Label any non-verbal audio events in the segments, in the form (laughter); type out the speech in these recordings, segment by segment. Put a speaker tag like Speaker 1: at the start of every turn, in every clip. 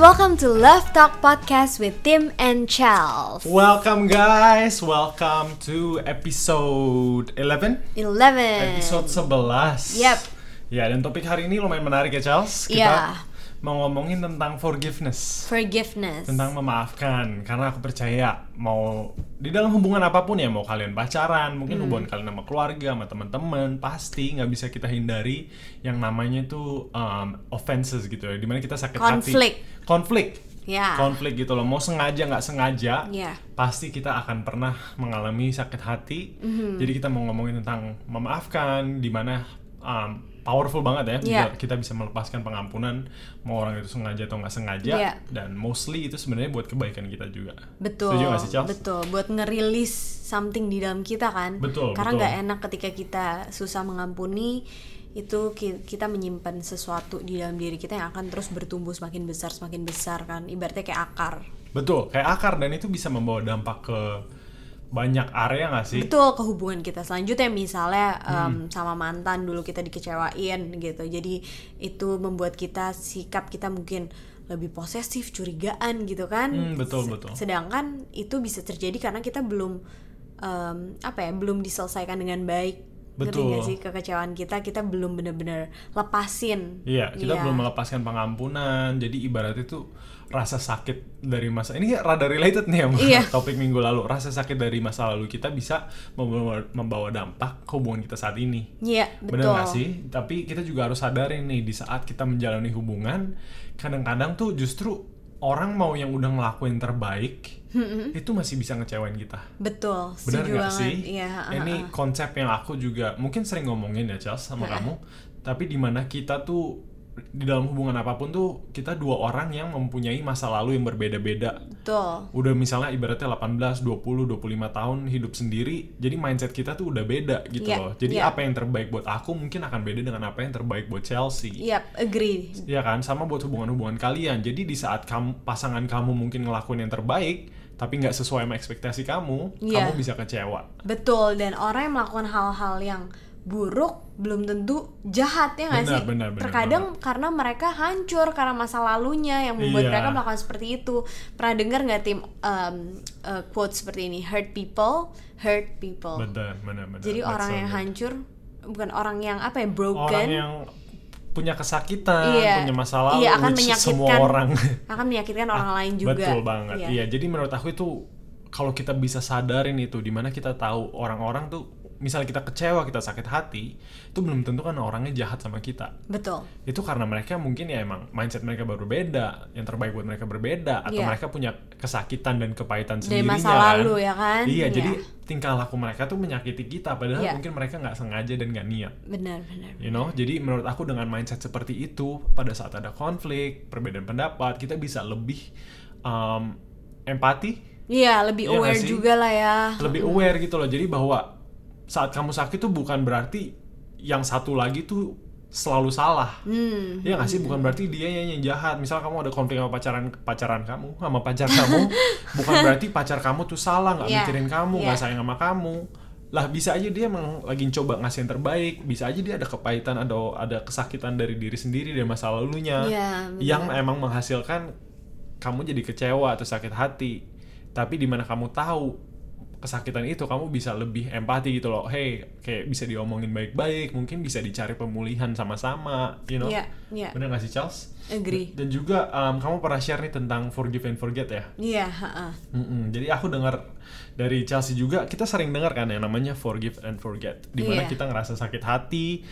Speaker 1: welcome to Love Talk Podcast with Tim and Charles.
Speaker 2: Welcome guys, welcome to episode 11
Speaker 1: 11.
Speaker 2: Episode 11
Speaker 1: Yep.
Speaker 2: Ya dan topik hari ini lumayan menarik ya Charles Kita
Speaker 1: Yeah.
Speaker 2: mau ngomongin tentang forgiveness
Speaker 1: Forgiveness.
Speaker 2: Tentang memaafkan Karena aku percaya mau di dalam hubungan apapun ya Mau kalian pacaran, mungkin hubungan kalian sama keluarga, sama teman-teman Pasti nggak bisa kita hindari yang namanya itu um, offenses gitu ya Dimana kita sakit
Speaker 1: Konflik.
Speaker 2: hati Konflik
Speaker 1: Ya.
Speaker 2: konflik gitu loh mau sengaja nggak sengaja
Speaker 1: Iya.
Speaker 2: pasti kita akan pernah mengalami sakit hati
Speaker 1: Mhm.
Speaker 2: jadi kita mau ngomongin tentang memaafkan dimana powerful banget ya
Speaker 1: Iya.
Speaker 2: bila kita bisa melepaskan pengampunan mau orang itu sengaja atau nggak sengaja
Speaker 1: Iya.
Speaker 2: dan mostly itu sebenarnya buat kebaikan kita juga
Speaker 1: Betul.
Speaker 2: setuju nggak sih Charles?
Speaker 1: Betul, buat ngerilis something di dalam kita kan.
Speaker 2: Betul,
Speaker 1: Karena
Speaker 2: betul.
Speaker 1: nggak enak ketika kita susah mengampuni itu ki- kita menyimpan sesuatu di dalam diri kita yang akan terus bertumbuh semakin besar semakin besar kan ibaratnya kayak akar
Speaker 2: betul kayak akar dan itu bisa membawa dampak ke banyak area nggak sih
Speaker 1: Betul ke hubungan kita selanjutnya misalnya em,
Speaker 2: Hmm.
Speaker 1: sama mantan dulu kita dikecewain gitu. Jadi itu membuat kita sikap kita mungkin lebih posesif, curigaan gitu kan.
Speaker 2: Hmm, betul,
Speaker 1: Se-
Speaker 2: betul.
Speaker 1: Sedangkan itu bisa terjadi karena kita belum em, apa ya, belum diselesaikan dengan baik. Ngerti
Speaker 2: Betul.
Speaker 1: nggak sih kekecewaan kita kita belum bener-bener lepasin.
Speaker 2: Iya, kita
Speaker 1: Iya.
Speaker 2: belum melepaskan pengampunan. Jadi ibaratnya itu rasa sakit dari masa ini rada related nih sama
Speaker 1: Iya.
Speaker 2: (laughs) topik minggu lalu. Rasa sakit dari masa lalu kita bisa membawa, membawa dampak ke hubungan kita saat ini.
Speaker 1: Iya,
Speaker 2: Bener
Speaker 1: betul.
Speaker 2: gak sih? Tapi kita juga harus sadarin nih di saat kita menjalani hubungan, kadang-kadang tuh justru orang mau yang udah ngelakuin terbaik itu masih bisa ngecewain kita.
Speaker 1: Betul.
Speaker 2: Benar
Speaker 1: setuju
Speaker 2: nggak
Speaker 1: banget.
Speaker 2: sih?
Speaker 1: Iya,
Speaker 2: Ini
Speaker 1: heeh.
Speaker 2: konsep yang aku juga mungkin sering ngomongin ya Charles sama
Speaker 1: Ha-ha.
Speaker 2: kamu. Tapi dimana kita tuh di dalam hubungan apapun tuh kita dua orang yang mempunyai masa lalu yang berbeda-beda.
Speaker 1: betul.
Speaker 2: Udah misalnya ibaratnya 18, 20, 25 tahun hidup sendiri, jadi mindset kita tuh udah beda gitu
Speaker 1: Iya,
Speaker 2: loh. Jadi
Speaker 1: iya.
Speaker 2: apa yang terbaik buat aku mungkin akan beda dengan apa yang terbaik buat Chelsea.
Speaker 1: Yap, Iya, agree.
Speaker 2: Ya kan, sama buat hubungan-hubungan kalian. Jadi di saat kamu, pasangan kamu mungkin ngelakuin yang terbaik, tapi nggak sesuai sama ekspektasi kamu,
Speaker 1: Iya.
Speaker 2: kamu bisa kecewa.
Speaker 1: Betul, dan orang yang melakukan hal-hal yang buruk belum tentu jahat ya nggak
Speaker 2: Benar,
Speaker 1: sih?
Speaker 2: benar, benar,
Speaker 1: Terkadang karena mereka hancur karena masa lalunya yang membuat
Speaker 2: Iya.
Speaker 1: mereka melakukan seperti itu. Pernah dengar nggak tim em, eh, quote seperti ini? Hurt people, hurt people.
Speaker 2: Benar, benar, benar.
Speaker 1: Oh. Jadi
Speaker 2: That's
Speaker 1: orang
Speaker 2: so
Speaker 1: yang
Speaker 2: good.
Speaker 1: hancur bukan orang yang apa ya broken.
Speaker 2: orang yang punya kesakitan,
Speaker 1: Iya.
Speaker 2: punya masalah,
Speaker 1: Iya, akan
Speaker 2: which semua
Speaker 1: menyakitkan
Speaker 2: orang.
Speaker 1: (laughs) akan menyakitkan orang
Speaker 2: (laughs)
Speaker 1: lain juga.
Speaker 2: Betul banget.
Speaker 1: Iya.
Speaker 2: Iya, jadi menurut aku itu kalau kita bisa sadarin itu dimana kita tahu orang-orang tuh misalnya kita kecewa, kita sakit hati, itu belum tentu kan orangnya jahat sama kita.
Speaker 1: Betul.
Speaker 2: Itu karena mereka mungkin ya emang mindset mereka berbeda, yang terbaik buat mereka berbeda atau
Speaker 1: Iya.
Speaker 2: mereka punya kesakitan dan kepahitan
Speaker 1: Dari
Speaker 2: sendirinya.
Speaker 1: masa lalu
Speaker 2: kan?
Speaker 1: ya kan?
Speaker 2: Iya,
Speaker 1: Iya.
Speaker 2: jadi tingkah laku mereka tuh menyakiti kita padahal
Speaker 1: Iya.
Speaker 2: mungkin mereka nggak sengaja dan nggak niat.
Speaker 1: Benar, benar.
Speaker 2: You know, jadi menurut aku dengan mindset seperti itu, pada saat ada konflik, perbedaan pendapat, kita bisa lebih um, empati,
Speaker 1: Iya, lebih
Speaker 2: Iya nggak
Speaker 1: aware
Speaker 2: sih?
Speaker 1: juga lah ya.
Speaker 2: lebih aware gitu loh. Jadi bahwa saat kamu sakit tuh bukan berarti yang satu lagi tuh selalu salah.
Speaker 1: Hmm.
Speaker 2: Iya nggak sih? Bukan berarti dia yang yang jahat. Misal kamu ada konflik sama pacaran pacaran kamu, sama pacar
Speaker 1: (laughs)
Speaker 2: kamu, bukan berarti pacar kamu tuh salah nggak
Speaker 1: Iya.
Speaker 2: mikirin kamu, nggak
Speaker 1: Iya.
Speaker 2: sayang sama kamu. Lah bisa aja dia emang lagi coba ngasih yang terbaik, bisa aja dia ada kepahitan atau ada kesakitan dari diri sendiri dari masa lalunya
Speaker 1: Iya, benar.
Speaker 2: Ya. yang emang menghasilkan kamu jadi kecewa atau sakit hati. Tapi di mana kamu tahu kesakitan itu kamu bisa lebih empati gitu loh. Hey, kayak bisa diomongin baik-baik, mungkin bisa dicari pemulihan sama-sama, you know.
Speaker 1: Iya, iya.
Speaker 2: Bener gak sih Charles?
Speaker 1: Agree.
Speaker 2: Dan juga um, kamu pernah share nih tentang forgive and forget ya.
Speaker 1: Iya, heeh.
Speaker 2: Mm-mm. Jadi aku dengar dari Chelsea juga kita sering dengar kan yang namanya forgive and forget.
Speaker 1: Iya.
Speaker 2: Dimana kita ngerasa sakit hati,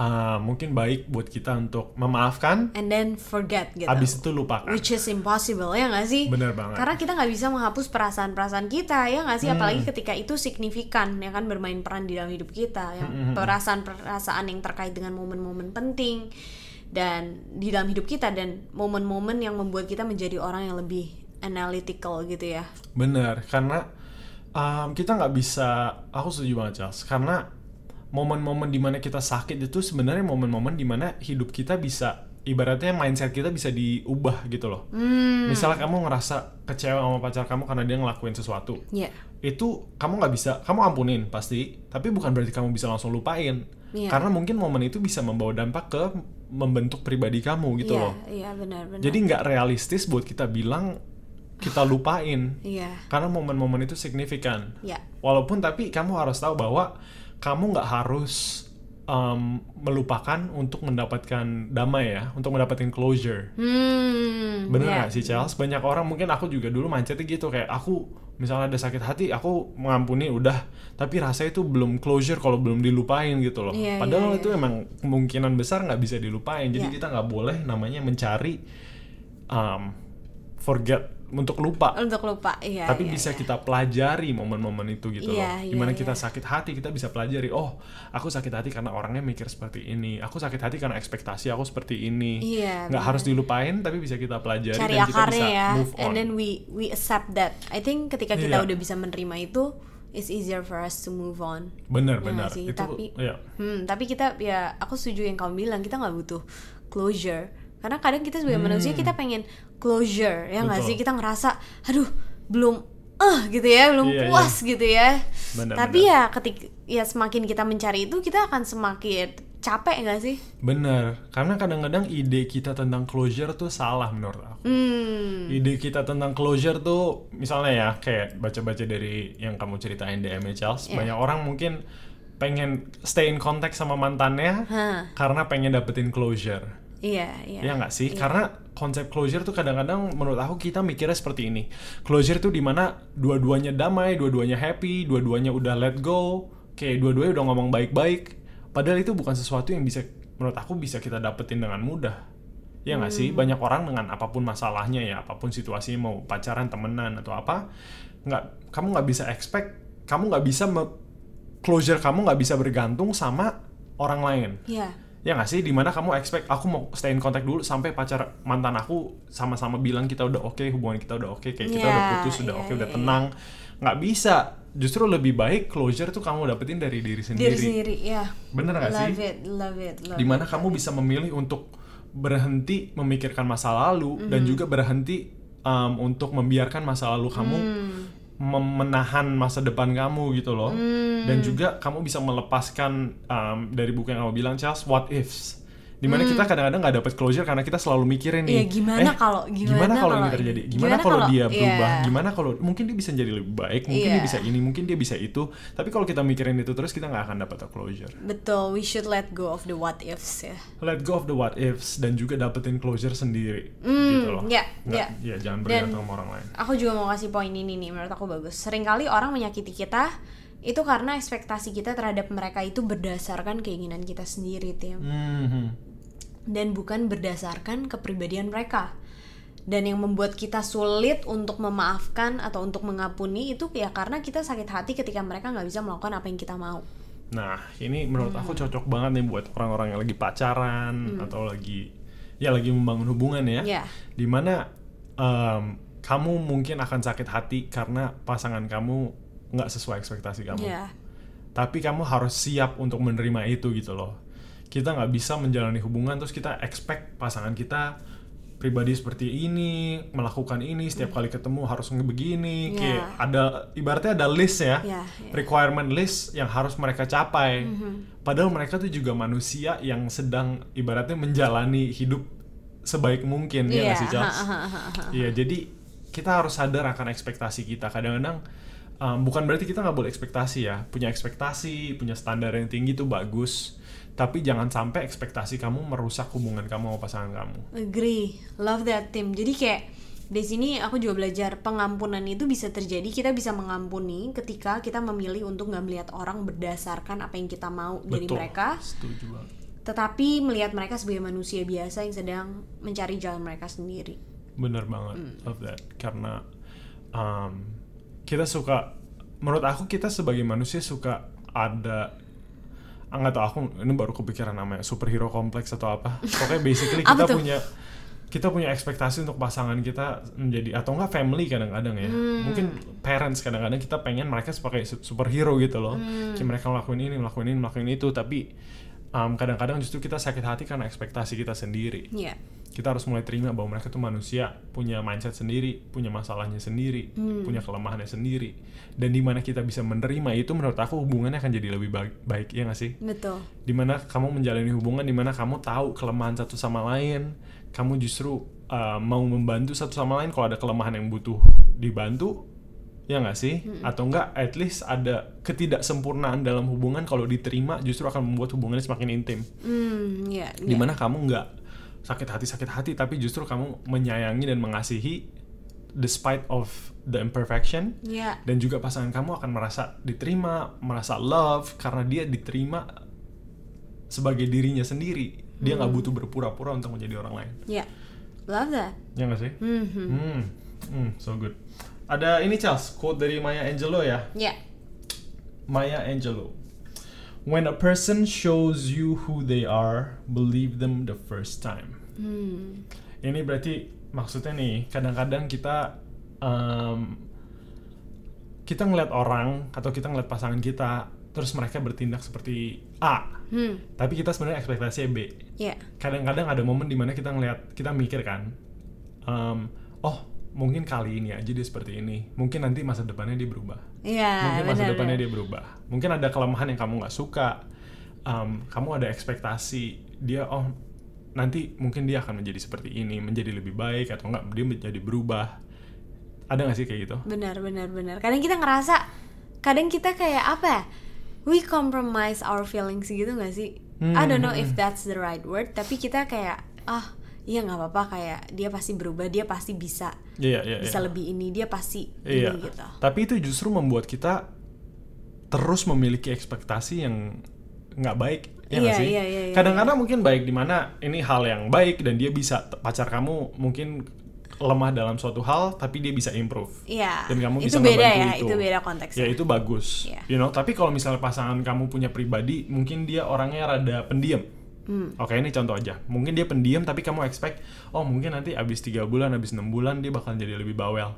Speaker 2: uh, mungkin baik buat kita untuk memaafkan,
Speaker 1: and then forget gitu.
Speaker 2: habis itu lupakan.
Speaker 1: Which is impossible ya nggak sih?
Speaker 2: Bener banget. Hmm.
Speaker 1: Karena kita nggak bisa menghapus perasaan-perasaan kita ya nggak sih? Apalagi ketika itu signifikan ya kan bermain peran di dalam hidup kita.
Speaker 2: Hmm,
Speaker 1: Yang perasaan-perasaan yang terkait dengan momen-momen penting dan di dalam hidup kita dan momen-momen yang membuat kita menjadi orang yang lebih analytical gitu ya.
Speaker 2: Bener, karena um, kita nggak bisa, aku setuju banget Charles, karena momen-momen dimana kita sakit itu sebenarnya momen-momen dimana hidup kita bisa, ibaratnya mindset kita bisa diubah gitu loh.
Speaker 1: Hmm.
Speaker 2: Misalnya kamu ngerasa kecewa sama pacar kamu karena dia ngelakuin sesuatu,
Speaker 1: Iya.
Speaker 2: itu kamu nggak bisa, kamu ampunin pasti, tapi bukan berarti kamu bisa langsung lupain.
Speaker 1: Iya.
Speaker 2: Karena mungkin momen itu bisa membawa dampak ke membentuk pribadi kamu gitu
Speaker 1: iya,
Speaker 2: loh.
Speaker 1: Iya, benar-benar.
Speaker 2: Jadi nggak realistis buat kita bilang kita lupain
Speaker 1: iya,
Speaker 2: karena momen-momen itu signifikan.
Speaker 1: iya,
Speaker 2: Walaupun tapi kamu harus tahu bahwa kamu nggak harus um, melupakan untuk mendapatkan damai ya, untuk mendapatkan closure.
Speaker 1: hmm,
Speaker 2: Bener
Speaker 1: iya.
Speaker 2: nggak sih Charles? Banyak orang mungkin aku juga dulu mindsetnya gitu kayak aku misalnya ada sakit hati aku mengampuni udah tapi rasanya itu belum closure kalau belum dilupain gitu loh.
Speaker 1: Iya,
Speaker 2: Padahal
Speaker 1: iya,
Speaker 2: itu emang kemungkinan besar nggak bisa dilupain. Jadi
Speaker 1: Iya.
Speaker 2: kita nggak boleh namanya mencari um, forget untuk lupa.
Speaker 1: Untuk lupa, iya.
Speaker 2: tapi
Speaker 1: iya,
Speaker 2: bisa
Speaker 1: iya.
Speaker 2: kita pelajari momen-momen itu gitu
Speaker 1: Iya,
Speaker 2: loh.
Speaker 1: iya,
Speaker 2: Gimana
Speaker 1: iya.
Speaker 2: kita sakit hati kita bisa pelajari. Oh aku sakit hati karena orangnya mikir seperti ini. Aku sakit hati karena ekspektasi aku seperti ini
Speaker 1: Iya.
Speaker 2: nggak harus dilupain tapi bisa kita pelajari
Speaker 1: cari
Speaker 2: dan kita
Speaker 1: akarnya
Speaker 2: bisa
Speaker 1: ya
Speaker 2: move on
Speaker 1: and then we we accept that I think ketika kita
Speaker 2: Iya.
Speaker 1: udah bisa menerima itu it's easier for us to move on Ya
Speaker 2: bener bener
Speaker 1: nggak sih?
Speaker 2: itu
Speaker 1: Tapi-
Speaker 2: ya
Speaker 1: hmm tapi kita ya aku setuju yang kamu bilang kita nggak butuh closure karena kadang kita sebagai manusia kita pengen closure ya nggak
Speaker 2: Hmm. Betul.
Speaker 1: sih kita ngerasa aduh belum eh gitu ya belum
Speaker 2: Iya,
Speaker 1: puas gitu ya
Speaker 2: Benar,
Speaker 1: tapi ya ketik ya semakin kita mencari itu kita akan semakin capek nggak sih
Speaker 2: bener karena kadang-kadang ide kita tentang closure tuh salah menurut aku
Speaker 1: hmm
Speaker 2: ide kita tentang closure tuh misalnya ya kayak baca-baca dari yang kamu ceritain DM -nya Charles
Speaker 1: Iya.
Speaker 2: banyak orang mungkin pengen stay in contact sama mantannya
Speaker 1: Hah.
Speaker 2: karena pengen dapetin closure
Speaker 1: iya iya
Speaker 2: Ya nggak sih? Karena konsep closure tuh kadang-kadang menurut aku kita mikirnya seperti ini. Closure tuh dimana dua-duanya damai, dua-duanya happy, dua-duanya udah let go, kayak dua-duanya udah ngomong baik-baik. Padahal itu bukan sesuatu yang bisa menurut aku bisa kita dapetin dengan mudah. Ya nggak sih? Banyak orang dengan apapun masalahnya ya, apapun situasinya mau pacaran, temenan atau apa, nggak kamu nggak bisa expect, kamu nggak bisa me- closure kamu nggak bisa bergantung sama orang lain
Speaker 1: iya
Speaker 2: ya nggak sih dimana kamu expect aku mau stay in contact dulu sampai pacar mantan aku sama-sama bilang kita udah oke hubungan kita udah oke kayak kita
Speaker 1: Iya,
Speaker 2: udah putus udah
Speaker 1: iya,
Speaker 2: oke udah
Speaker 1: iya,
Speaker 2: tenang nggak bisa justru lebih baik closure tuh kamu dapetin dari diri
Speaker 1: diri
Speaker 2: sendiri,
Speaker 1: sendiri ya
Speaker 2: bener nggak sih
Speaker 1: love it love it love it.
Speaker 2: dimana kamu bisa memilih untuk berhenti memikirkan masa lalu
Speaker 1: Mm-hmm.
Speaker 2: dan juga berhenti um, untuk membiarkan masa lalu kamu
Speaker 1: Mm. Hmm,
Speaker 2: mem- menahan masa depan kamu gitu loh
Speaker 1: Hmm.
Speaker 2: dan juga kamu bisa melepaskan um, dari buku yang kamu bilang Charles what ifs dimana kita kadang-kadang nggak dapat closure karena kita selalu mikirin
Speaker 1: Hmm. Iya,
Speaker 2: nih
Speaker 1: gimana
Speaker 2: eh,
Speaker 1: kalau-
Speaker 2: gimana
Speaker 1: gimana
Speaker 2: kalau ini
Speaker 1: kalau-
Speaker 2: terjadi gimana,
Speaker 1: gimana
Speaker 2: kalau
Speaker 1: kalau-
Speaker 2: dia berubah
Speaker 1: iya.
Speaker 2: gimana kalau mungkin dia bisa jadi lebih baik mungkin dia
Speaker 1: Iya.
Speaker 2: bisa ini mungkin dia bisa itu tapi kalau kita mikirin itu terus kita nggak akan dapat closure
Speaker 1: Betul, we should let go of the what ifs ya.
Speaker 2: let go of the what ifs dan juga dapetin closure sendiri
Speaker 1: Hmm,
Speaker 2: gitu loh.
Speaker 1: ya,
Speaker 2: Nggak- ya, jangan
Speaker 1: Dan-
Speaker 2: bergantung sama orang lain.
Speaker 1: Aku juga mau kasih poin ini nih, menurut aku bagus. Seringkali orang menyakiti kita itu karena ekspektasi kita terhadap mereka itu berdasarkan keinginan kita sendiri, Tim.
Speaker 2: Mhm.
Speaker 1: Dan bukan berdasarkan kepribadian mereka. Dan yang membuat kita sulit untuk memaafkan atau untuk mengapuni itu ya karena kita sakit hati ketika mereka nggak bisa melakukan apa yang kita mau.
Speaker 2: Nah, ini menurut aku cocok banget nih buat orang-orang yang lagi pacaran atau lagi ya lagi membangun hubungan ya.
Speaker 1: Ya.
Speaker 2: Dimana em, kamu mungkin akan sakit hati karena pasangan kamu nggak sesuai ekspektasi kamu.
Speaker 1: Ya.
Speaker 2: tapi kamu harus siap untuk menerima itu gitu loh kita nggak bisa menjalani hubungan terus kita expect pasangan kita pribadi seperti ini melakukan ini setiap kali ketemu harus begini
Speaker 1: Ya.
Speaker 2: kayak ada ibaratnya ada list ya
Speaker 1: Ya, ya.
Speaker 2: requirement list yang harus mereka capai padahal mereka tuh juga manusia yang sedang ibaratnya menjalani hidup sebaik mungkin ya
Speaker 1: Iya,
Speaker 2: nggak sih Charles? Iya, jadi kita harus sadar akan ekspektasi kita. Kadang-kadang um, bukan berarti kita nggak boleh ekspektasi ya. Punya ekspektasi, punya standar yang tinggi itu bagus. Tapi jangan sampai ekspektasi kamu merusak hubungan kamu sama pasangan kamu.
Speaker 1: Agree, love that team. Jadi kayak di sini aku juga belajar pengampunan itu bisa terjadi kita bisa mengampuni ketika kita memilih untuk nggak melihat orang berdasarkan apa yang kita mau dari
Speaker 2: Betul.
Speaker 1: mereka,
Speaker 2: Setuju banget.
Speaker 1: tetapi melihat mereka sebagai manusia biasa yang sedang mencari jalan mereka sendiri.
Speaker 2: Bener banget.
Speaker 1: Hmm.
Speaker 2: Love that. Karena um, kita suka, menurut aku kita sebagai manusia suka ada ah, nggak tahu aku ini baru kepikiran namanya superhero kompleks atau
Speaker 1: (laughs)
Speaker 2: apa pokoknya basically
Speaker 1: Apa
Speaker 2: kita
Speaker 1: tuh?
Speaker 2: punya kita punya ekspektasi untuk pasangan kita menjadi atau enggak family kadang-kadang ya
Speaker 1: Hmm.
Speaker 2: mungkin parents kadang-kadang kita pengen mereka sebagai su- superhero gitu loh
Speaker 1: Hmm.
Speaker 2: Kayak mereka ngelakuin ini ngelakuin ini ngelakuin itu tapi um, kadang-kadang justru kita sakit hati karena ekspektasi kita sendiri
Speaker 1: Ya,
Speaker 2: kita harus mulai terima bahwa mereka tuh manusia punya mindset sendiri punya masalahnya sendiri punya kelemahannya sendiri dan dimana kita bisa menerima itu menurut aku hubungannya akan jadi lebih baik baik ya nggak sih
Speaker 1: betul
Speaker 2: dimana kamu menjalani hubungan dimana kamu tahu kelemahan satu sama lain kamu justru uh, mau membantu satu sama lain kalau ada kelemahan yang butuh dibantu ya nggak sih atau enggak at least ada ketidaksempurnaan dalam hubungan kalau diterima justru akan membuat hubungannya semakin intim
Speaker 1: hmm ya ya.
Speaker 2: dimana kamu nggak sakit hati sakit hati tapi justru kamu menyayangi dan mengasihi despite of the imperfection
Speaker 1: ya
Speaker 2: dan juga pasangan kamu akan merasa diterima, merasa love karena dia diterima sebagai dirinya sendiri. Dia nggak butuh berpura-pura untuk menjadi orang lain.
Speaker 1: ya love that
Speaker 2: Ya nggak sih?
Speaker 1: Mhm.
Speaker 2: Hmm, hmm, so good. Ada ini Charles, quote dari Maya Angelou ya.
Speaker 1: ya
Speaker 2: Maya Angelou. When a person shows you who they are, believe them the first time.
Speaker 1: hmm
Speaker 2: Ini berarti maksudnya nih, kadang-kadang kita em, kita ngeliat orang atau kita ngeliat pasangan kita, terus mereka bertindak seperti A,
Speaker 1: hmm
Speaker 2: tapi kita sebenarnya ekspektasinya B.
Speaker 1: ya
Speaker 2: Kadang-kadang ada momen dimana kita ngeliat, kita mikir kan, em, oh mungkin kali ini aja dia seperti ini, mungkin nanti masa depannya dia berubah
Speaker 1: ya
Speaker 2: mungkin masa
Speaker 1: benar,
Speaker 2: depannya
Speaker 1: benar.
Speaker 2: dia berubah mungkin ada kelemahan yang kamu nggak suka Um, kamu ada ekspektasi dia oh nanti mungkin dia akan menjadi seperti ini menjadi lebih baik atau enggak dia menjadi berubah ada nggak sih kayak gitu
Speaker 1: benar benar benar kadang kita ngerasa kadang kita kayak apa ya, we compromise our feelings gitu gak sih
Speaker 2: Hmm,
Speaker 1: I don't know if that's the right word tapi kita kayak ah iya nggak apa-apa kayak dia pasti berubah dia pasti bisa
Speaker 2: iya iya
Speaker 1: bisa lebih ini dia pasti
Speaker 2: iya
Speaker 1: ini gitu
Speaker 2: tapi itu justru membuat kita terus memiliki ekspektasi yang nggak baik ya nggak
Speaker 1: Iya,
Speaker 2: sih
Speaker 1: iya, iya, iya,
Speaker 2: kadang-kadang mungkin baik di mana ini hal yang baik dan dia bisa pacar kamu mungkin lemah dalam suatu hal tapi dia bisa improve
Speaker 1: Iya.
Speaker 2: dan kamu
Speaker 1: itu
Speaker 2: bisa
Speaker 1: beda
Speaker 2: ngebantu
Speaker 1: ya,
Speaker 2: itu.
Speaker 1: itu. beda konteksnya.
Speaker 2: ya itu bagus
Speaker 1: Iya.
Speaker 2: you know tapi kalau misalnya pasangan kamu punya pribadi mungkin dia orangnya rada pendiam
Speaker 1: Hmm.
Speaker 2: oke ini contoh aja mungkin dia pendiam tapi kamu expect oh mungkin nanti abis tiga bulan abis enam bulan dia bakal jadi lebih bawel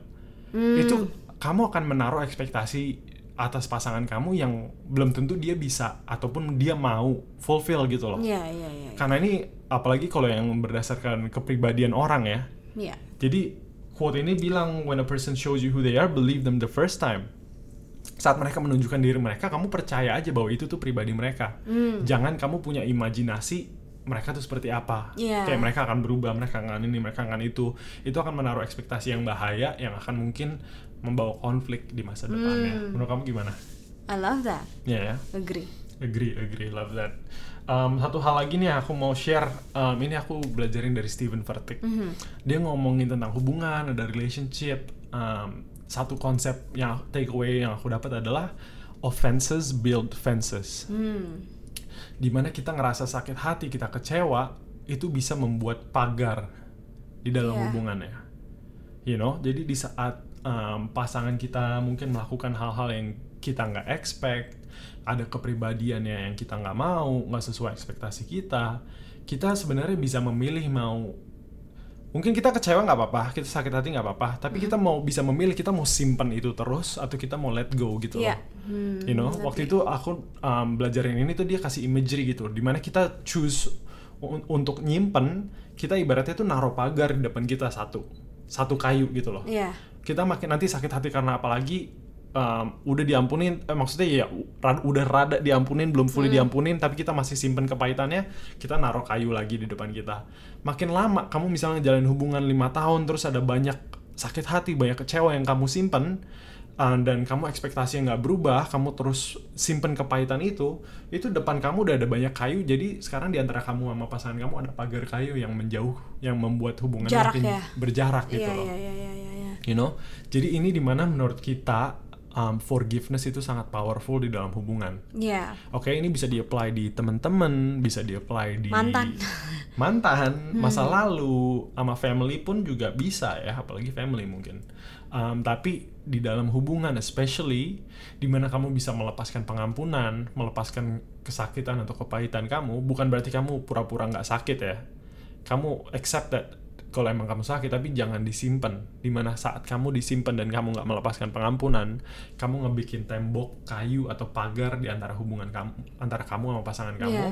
Speaker 1: Hmm.
Speaker 2: itu kamu akan menaruh ekspektasi atas pasangan kamu yang belum tentu dia bisa ataupun dia mau fulfill gitu loh
Speaker 1: Iya, iya, iya.
Speaker 2: karena ini apalagi kalau yang berdasarkan kepribadian orang ya
Speaker 1: Iya.
Speaker 2: jadi quote ini bilang when a person shows you who they are, believe them the first time. Saat mereka menunjukkan diri mereka, kamu percaya aja bahwa itu tuh pribadi mereka. Jangan kamu punya imajinasi mereka tuh seperti apa.
Speaker 1: Iya.
Speaker 2: Kayak mereka akan berubah, mereka akan ini, mereka akan itu. Itu akan menaruh ekspektasi yang bahaya yang akan mungkin membawa konflik di masa depannya. Menurut kamu gimana?
Speaker 1: I love that.
Speaker 2: Ya ya.
Speaker 1: Agree.
Speaker 2: Agree, agree, love that. Um, satu hal lagi nih yang aku mau share, um, ini aku belajarin dari Steven Vertik.
Speaker 1: Mm-hmm.
Speaker 2: Dia ngomongin tentang hubungan, ada relationship. Um, satu konsep yang takeaway yang aku dapat adalah offenses build fences.
Speaker 1: Mm-hmm.
Speaker 2: Dimana kita ngerasa sakit hati, kita kecewa, itu bisa membuat pagar di dalam
Speaker 1: Iya.
Speaker 2: hubungannya you know jadi di saat um, pasangan kita mungkin melakukan hal-hal yang kita nggak expect ada kepribadiannya yang kita nggak mau nggak sesuai ekspektasi kita kita sebenarnya bisa memilih mau mungkin kita kecewa nggak apa-apa kita sakit hati nggak apa-apa tapi
Speaker 1: Mm-hmm.
Speaker 2: kita mau bisa memilih kita mau simpen itu terus atau kita mau let go gitu
Speaker 1: Iya.
Speaker 2: loh
Speaker 1: Hmm,
Speaker 2: you know waktu itu aku um, belajarin ini tuh dia kasih imagery gitu dimana kita choose un- untuk nyimpen kita ibaratnya tuh naruh pagar di depan kita satu satu kayu gitu loh
Speaker 1: Iya.
Speaker 2: kita makin nanti sakit hati karena apalagi um, udah diampunin eh, maksudnya ya u- rad- udah rada diampunin belum fully
Speaker 1: Hmm.
Speaker 2: diampunin tapi kita masih simpen kepahitannya kita naruh kayu lagi di depan kita makin lama kamu misalnya jalan hubungan lima tahun terus ada banyak sakit hati banyak kecewa yang kamu simpen uh, dan kamu ekspektasinya nggak berubah kamu terus simpen kepahitan itu itu depan kamu udah ada banyak kayu jadi sekarang di antara kamu sama pasangan kamu ada pagar kayu yang menjauh yang membuat hubungan
Speaker 1: Jarak
Speaker 2: makin
Speaker 1: ya.
Speaker 2: berjarak gitu
Speaker 1: Iya,
Speaker 2: loh
Speaker 1: iya, iya, iya, iya, iya.
Speaker 2: you know jadi ini dimana menurut kita um, forgiveness itu sangat powerful di dalam hubungan
Speaker 1: Iya.
Speaker 2: oke ini bisa di apply di teman-teman bisa di apply di
Speaker 1: Mantan.
Speaker 2: mantan masa lalu sama family pun juga bisa ya apalagi family mungkin Um, tapi di dalam hubungan especially dimana kamu bisa melepaskan pengampunan melepaskan kesakitan atau kepahitan kamu bukan berarti kamu pura-pura nggak sakit ya kamu accept that kalau emang kamu sakit tapi jangan disimpan dimana saat kamu disimpan dan kamu nggak melepaskan pengampunan kamu ngebikin tembok kayu atau pagar di antara hubungan kamu antara kamu sama pasangan kamu
Speaker 1: Iya.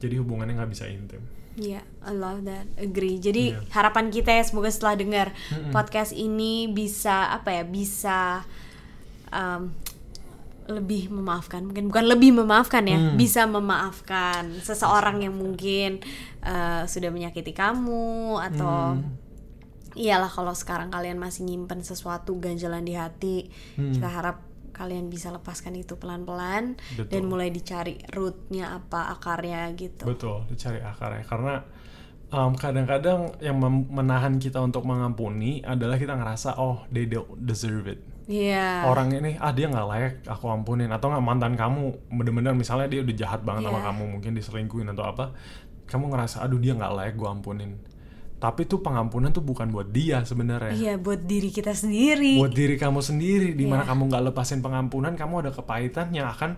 Speaker 2: jadi hubungannya nggak bisa intim
Speaker 1: Iya, I love that. Agree. Jadi
Speaker 2: Iya.
Speaker 1: harapan kita ya semoga setelah dengar podcast ini bisa apa ya? Bisa um, lebih memaafkan. Mungkin bukan lebih memaafkan ya,
Speaker 2: Hmm.
Speaker 1: bisa memaafkan seseorang yang mungkin uh, sudah menyakiti kamu atau
Speaker 2: Hmm.
Speaker 1: iyalah kalau sekarang kalian masih nyimpen sesuatu ganjalan di hati,
Speaker 2: Hmm.
Speaker 1: kita harap kalian bisa lepaskan itu pelan-pelan dan
Speaker 2: Betul.
Speaker 1: mulai dicari rootnya apa akarnya gitu.
Speaker 2: Betul, dicari akarnya. Karena um, kadang-kadang yang mem- menahan kita untuk mengampuni adalah kita ngerasa oh they don't deserve it.
Speaker 1: Iya.
Speaker 2: Orang ini ah dia nggak layak aku ampunin atau nggak mantan kamu bener-bener misalnya dia udah jahat banget sama
Speaker 1: Iya.
Speaker 2: kamu mungkin diselingkuhin atau apa, kamu ngerasa aduh dia nggak layak gua ampunin. Tapi tuh pengampunan tuh bukan buat dia sebenarnya.
Speaker 1: Iya buat diri kita sendiri.
Speaker 2: buat diri kamu sendiri di mana
Speaker 1: Iya.
Speaker 2: kamu nggak lepasin pengampunan kamu ada kepahitan yang akan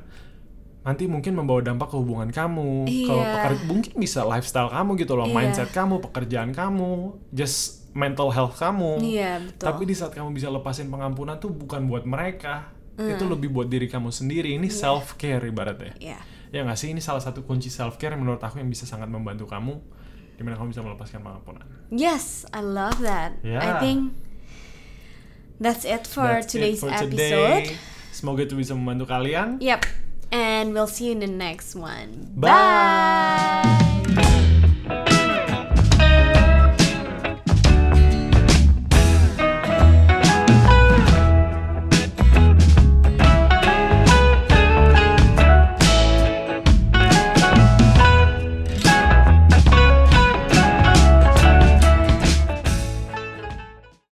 Speaker 2: nanti mungkin membawa dampak ke hubungan kamu ke
Speaker 1: Iya.
Speaker 2: peker- mungkin bisa lifestyle kamu gitu loh
Speaker 1: Iya.
Speaker 2: mindset kamu pekerjaan kamu just mental health kamu
Speaker 1: Iya betul.
Speaker 2: tapi di saat kamu bisa lepasin pengampunan tuh bukan buat mereka
Speaker 1: Hmm.
Speaker 2: itu lebih buat diri kamu sendiri ini self care ibaratnya
Speaker 1: Iya.
Speaker 2: ya nggak sih ini salah satu kunci self care yang menurut aku yang bisa sangat membantu kamu dimana kamu bisa melepaskan pengampunan
Speaker 1: Yes, I love that. I
Speaker 2: Yeah.
Speaker 1: think that's it for
Speaker 2: That's it
Speaker 1: today's
Speaker 2: for today.
Speaker 1: episode.
Speaker 2: semoga itu bisa membantu kalian
Speaker 1: Yep. And we'll see you in the next one.
Speaker 2: Bye.
Speaker 1: Bye.